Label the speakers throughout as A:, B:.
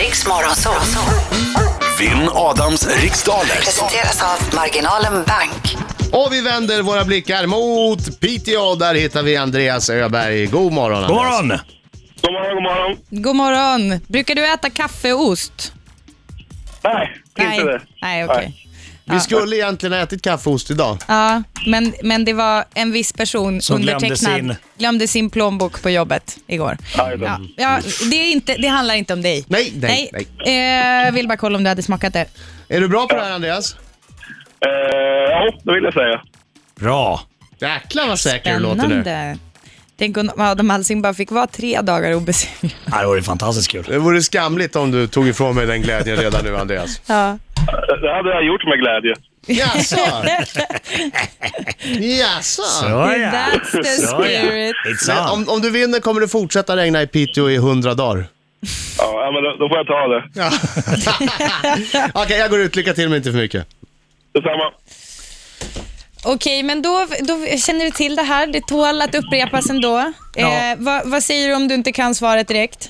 A: Riks Morgonzoo.
B: Vinn Adams riksdaler.
A: Presenteras av Marginalen Bank.
C: Och vi vänder våra blickar mot Piteå. Där hittar vi Andreas Öberg. God morgon
D: God
C: Andreas.
D: morgon!
E: God morgon, god morgon.
F: God morgon. Brukar du äta kaffe och ost?
E: Nej, inte det.
F: Nej, okej.
C: Vi skulle egentligen ha ätit kaffeost idag.
F: Ja, men, men det var en viss person
D: Som glömde
F: undertecknad
D: sin-
F: glömde sin plånbok på jobbet igår.
E: Aj då.
F: Ja, ja, det, är inte, det handlar inte om dig.
C: Nej, nej,
F: Eh, jag vill bara kolla om du hade smakat det.
C: Är du bra på det här Andreas?
E: Eh, ja, det vill jag säga.
D: Bra!
C: Jäklar vad säker du låter nu.
F: Spännande. Tänk om Adam Alsing bara fick vara tre dagar obesegrad.
D: Det här var ju fantastiskt kul.
C: Det vore skamligt om du tog ifrån mig den glädjen redan nu Andreas.
F: Ja.
E: Det hade jag gjort med glädje.
C: Jaså? Jaså?
D: Såja!
F: That's the
D: Såja.
F: spirit.
D: It's
C: Men
D: on.
C: om, om du vinner kommer det fortsätta regna i Piteå i hundra dagar.
E: Ja, ja, men då, då får jag ta det.
C: Ja. Okej, jag går ut. Lycka till men inte för mycket.
E: Detsamma.
F: Okej, men då, då känner du till det här. Det tål att upprepas ändå.
D: Ja.
F: Eh, vad, vad säger du om du inte kan svaret direkt?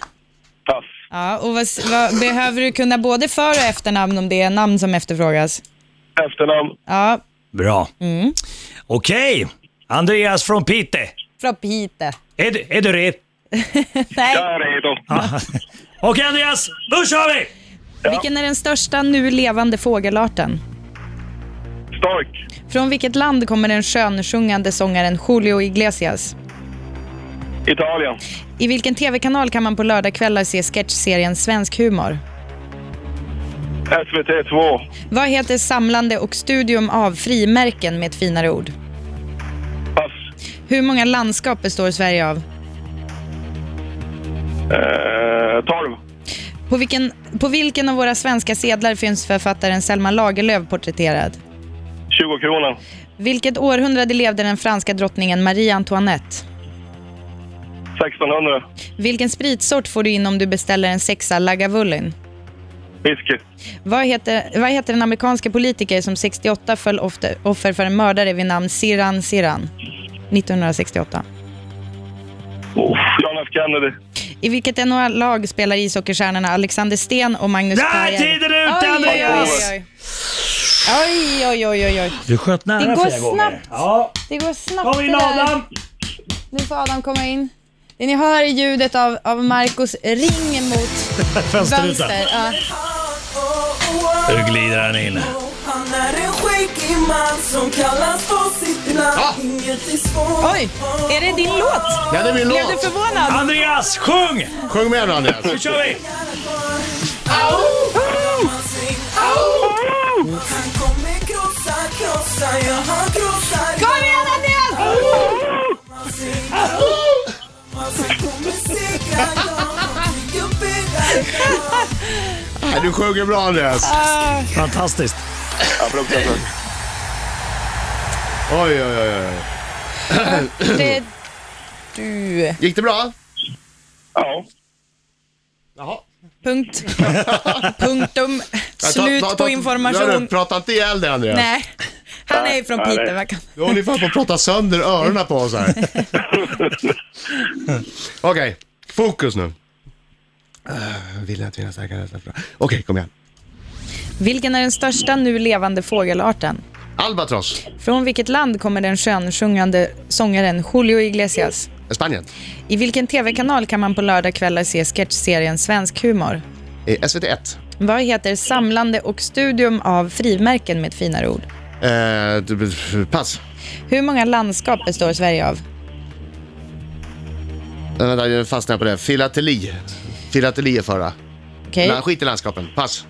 E: Pass.
F: Ja, och vad, vad, behöver du kunna både för och efternamn om det är namn som efterfrågas?
E: Efternamn.
F: Ja,
D: Bra.
F: Mm.
D: Okej, Andreas från Piteå.
F: från Pite.
D: Är, du- är du redo?
F: Nej,
E: Jag är redo.
D: Okej Andreas, då kör vi!
F: vilken är den största nu levande fågelarten?
E: Stark.
F: Från vilket land kommer den skönsjungande sångaren Julio Iglesias?
E: Italien.
F: I vilken tv-kanal kan man på lördagkvällar se sketchserien Svensk humor?
E: SVT 2.
F: Vad heter samlande och studium av frimärken med ett finare ord?
E: Pass.
F: Hur många landskap består Sverige av?
E: Eh, 12.
F: På vilken, på vilken av våra svenska sedlar finns författaren Selma Lagerlöf porträtterad?
E: 20 kronor.
F: Vilket århundrade levde den franska drottningen Marie Antoinette?
E: 1600.
F: Vilken spritsort får du in om du beställer en sexa Lagavulin?
E: Whisky.
F: Vad heter, vad heter den amerikanska politiker som 68 föll offer, offer för en mördare vid namn Siran Siran? 1968.
E: Oh, John F Kennedy.
F: I vilket NHL-lag spelar ishockeystjärnorna Alexander Sten och Magnus
D: Där,
F: Pajen?
D: tiden är ute, Andreas!
F: Oj, oj, oj, oj, oj, oj.
D: Du sköt nära
F: Det går
D: flera gånger.
F: snabbt.
D: Ja,
F: Det går snabbt
D: kom in
F: det där.
D: Adam!
F: Nu får Adam komma in. Det ni hör är ljudet av, av Marcos ring mot
D: Fönsterrutan.
F: vänster. Ja.
D: Nu glider han in.
G: Han är en skäggig man som kallas på sitt namn
C: Ja.
G: Inget är svårt
F: Ah! Oj, är det din låt?
C: Ja, det är min
F: Blev du
C: låt.
F: förvånad?
D: Andreas, sjung!
C: Sjung med nu Andreas.
D: Nu kör vi!
G: Han kommer krossa, krossa, ja han krossar
F: Kom igen Andreas!
G: Han kommer segra, ja han bygger bygga
C: Nej, Du sjunger bra Andreas.
D: Fantastiskt.
E: Ja, fruktansvärt.
C: Oj, oj, oj. oj.
F: Det, du.
C: Gick det bra?
E: Ja.
C: Jaha.
F: Punkt. Punktum. Slut på
C: Hörru,
F: information.
C: prata inte ihjäl dig Andreas.
F: Nej, han är ju från
E: Nej.
F: Piteå. vad kan-
C: Du håller ju fan på att prata sönder öronen på oss här. Okej, fokus nu. Uh, vill att vinna starkare nästa fråga. Okej, kom igen.
F: Vilken är den största nu levande fågelarten?
C: Albatros,
F: Från vilket land kommer den skönsjungande sångaren Julio Iglesias?
C: Spanien.
F: I vilken tv-kanal kan man på lördagkvällar se sketchserien Svensk humor?
C: Eh, SVT1.
F: Vad heter samlande och studium av frimärken med ett finare ord?
C: Eh, du- du- pass.
F: Hur många landskap består Sverige av?
C: Eh, Vänta, jag fastnade på det. Filateli. Filateli är förra.
F: Okej.
C: Nej, Skit i landskapen. Pass.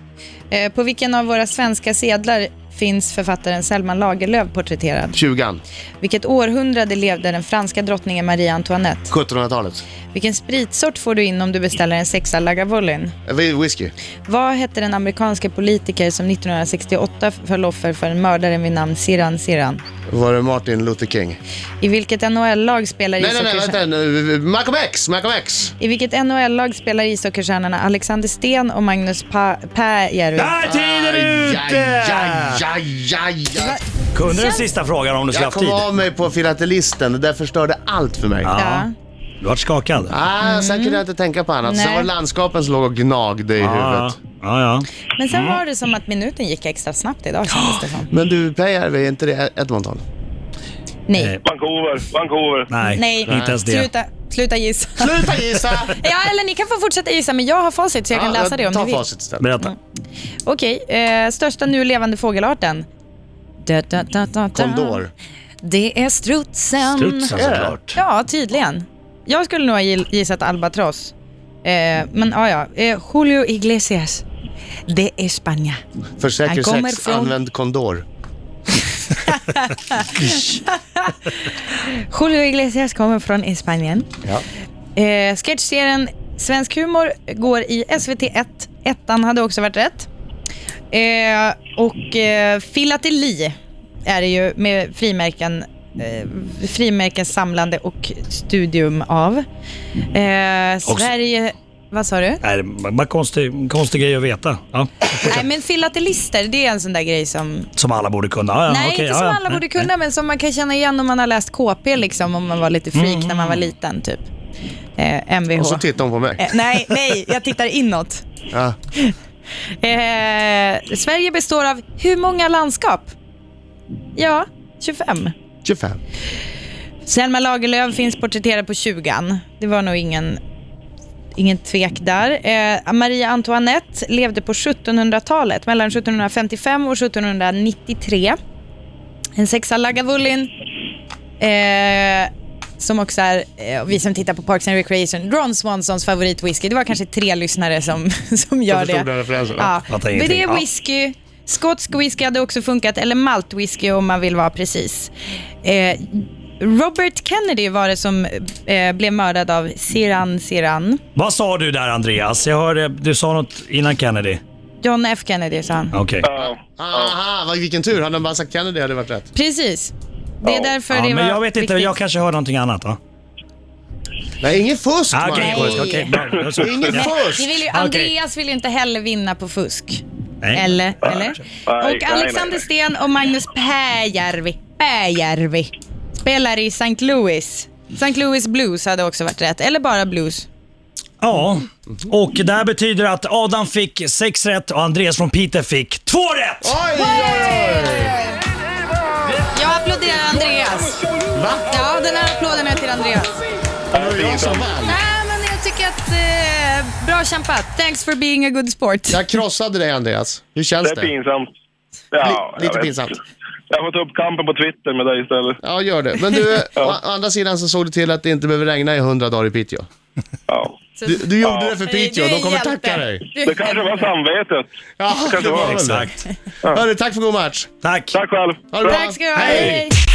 F: Eh, på vilken av våra svenska sedlar finns författaren Selma Lagerlöf porträtterad?
C: Tjugan.
F: Vilket århundrade levde den franska drottningen Marie Antoinette?
C: 1700-talet.
F: Vilken spritsort får du in om du beställer en sexa Lagavulin?
C: Eh, Whisky.
F: Vad hette den amerikanska politiker som 1968 föll offer för en mördare vid namn Siran Siran?
C: Var det Martin Luther King?
F: I vilket NHL-lag spelar
C: Nej, nej, nej,
F: ishockeystjär-
C: vänta. nu. Malcolm X, Malcolm X.
F: I vilket NHL-lag spelar ishockeystjärnorna Alexander Sten och Magnus Pa- Pääjärvi?
D: Där, tiden är ute!
C: Ajajajajaj.
D: Kunde den sista frågan om du skulle
C: Jag
D: haft
C: kom
D: tid?
C: av mig på filatelisten, det där förstörde allt för mig.
D: Ja.
F: Ja. Mm.
D: Du vart skakad?
C: Ah, Sen kunde jag inte tänka på annat. Sen
F: Nej. Ah.
C: var det landskapen som låg och gnagde i
D: ja,
C: huvudet.
D: ja, ja.
F: Men sen var det som att minuten gick extra snabbt idag kändes det som.
C: Men du Pääjärvi, är inte det Edmonton?
F: Nej.
E: Vancouver, Vancouver.
D: Nej,
F: Nej.
D: inte ens det.
F: Sluta, sluta gissa.
C: Sluta gissa!
F: Ja, eller ni kan få fortsätta gissa, men jag har facit så jag kan
C: Ja,
F: läsa det om
C: ta
F: ni vill.
C: facit istället.
D: Berätta.
F: Mm. Okej, eh, största nu levande fågelarten? Da, da, da, da, da.
C: Kondor.
F: Det är strutsen.
D: Strutsen
C: Ja.
D: såklart.
F: Ja, tydligen. Jag skulle nog ha gill- gissat albatross. Eh, men ja, ja. Eh, Julio Iglesias. Det är Spanien.
C: För säker
F: Han kommer
C: sex,
F: från-
C: använd kondor.
F: Julio Iglesias kommer från Spanien.
C: Ja.
F: Eh, sketchserien Svensk humor går i SVT 1. Ettan hade också varit rätt. Eh, och eh, filateli är det ju med frimärken, eh, frimärkessamlande och studium av. Eh, Sverige... Vad sa du?
D: Nej, det är bara konstig, konstig grej att veta. Ja.
F: Nej, men filatelister, det är en sån där grej som...
D: Som alla borde kunna. Ja, ja,
F: nej,
D: okej,
F: inte
D: ja,
F: som
D: ja.
F: alla borde kunna, men som man kan känna igen om man har läst KP, liksom, om man var lite freak
D: Mm,
F: när man var liten, typ. Eh, MVH.
C: Och så tittar hon på mig.
F: Eh, nej, nej, jag tittar inåt.
C: Ja.
F: Eh, Sverige består av hur många landskap? Ja, 25.
C: 25.
F: Selma Lagerlöf finns porträtterad på 20 Det var nog ingen, ingen tvek där. Eh, Maria Antoinette levde på 1700-talet, mellan 1755 och 1793. En sexa Lagavulin, eh, som också är, eh, vi som tittar på Parks and Recreation, Ron Swansons favoritwhisky. Det var kanske tre lyssnare som, som gör
C: förstod den
F: det.
C: referensen.
F: Ja. Men
D: Fattar
F: det
D: ingenting.
F: är
D: Ja.
F: whisky. Skotsk whisky hade också funkat, eller maltwhisky om man vill vara precis. Eh, Robert Kennedy var det som eh, blev mördad av Siran Siran.
D: Vad sa du där Andreas? Jag hörde, du sa något innan Kennedy.
F: John F Kennedy sa han.
D: Okej.
E: Ja.
C: Aha, vad- vilken tur. Hade de bara sagt Kennedy hade det varit rätt.
F: Precis. Det är
E: Ja.
F: därför
D: Ja,
F: det var
D: men jag vet inte,
F: viktigt.
D: jag kanske hör någonting annat. Va?
C: Nej, ingen fusk
D: Ah, okej,
C: Marco.
D: okay, okay,
C: Ingen
F: Vi
C: fusk!
F: vill
D: Okej.
F: ju, Andreas vill ju inte heller vinna på fusk.
D: Nej.
F: Eller? eller?
E: nej,
F: Och Alexander
E: nej.
F: Sten och Magnus Pääjärvi. Pääjärvi. Spelar i St. Louis. St. Louis Blues hade också varit rätt. Eller bara Blues.
D: Ja, och det här betyder att Adam fick sex rätt och Andreas från Peter fick två rätt!
C: Oj, oj, oj!
F: Jag applåderar Andreas.
C: Va?
F: Ja, den här applåden är till Andreas.
C: Det var jag som vann.
F: Nej, men jag tycker att... Eh, bra kämpat. Thanks for being a good sport.
C: Jag krossade dig Andreas. Hur känns
E: Det är
C: det?
E: pinsamt. Ja,
C: Li- lite
E: jag vet.
C: pinsamt.
E: Jag får ta upp kampen på Twitter med dig istället.
C: Ja, gör det. Men du, å å andra sidan så såg du till att det inte behöver regna i hundra dagar i Piteå.
E: Ja.
C: Du, du gjorde det för Piteå,
F: Du är
C: de kommer
F: hjälte.
C: tacka dig.
F: Du är
E: Det kanske var samvetet.
C: Ja,
E: Det kanske var.
C: väl det.
D: Exakt.
C: Hörru, tack för god match.
D: Tack!
E: Tack själv.
C: Ha det bra.
F: Tack ska du ha.
C: Hej.
F: Hej.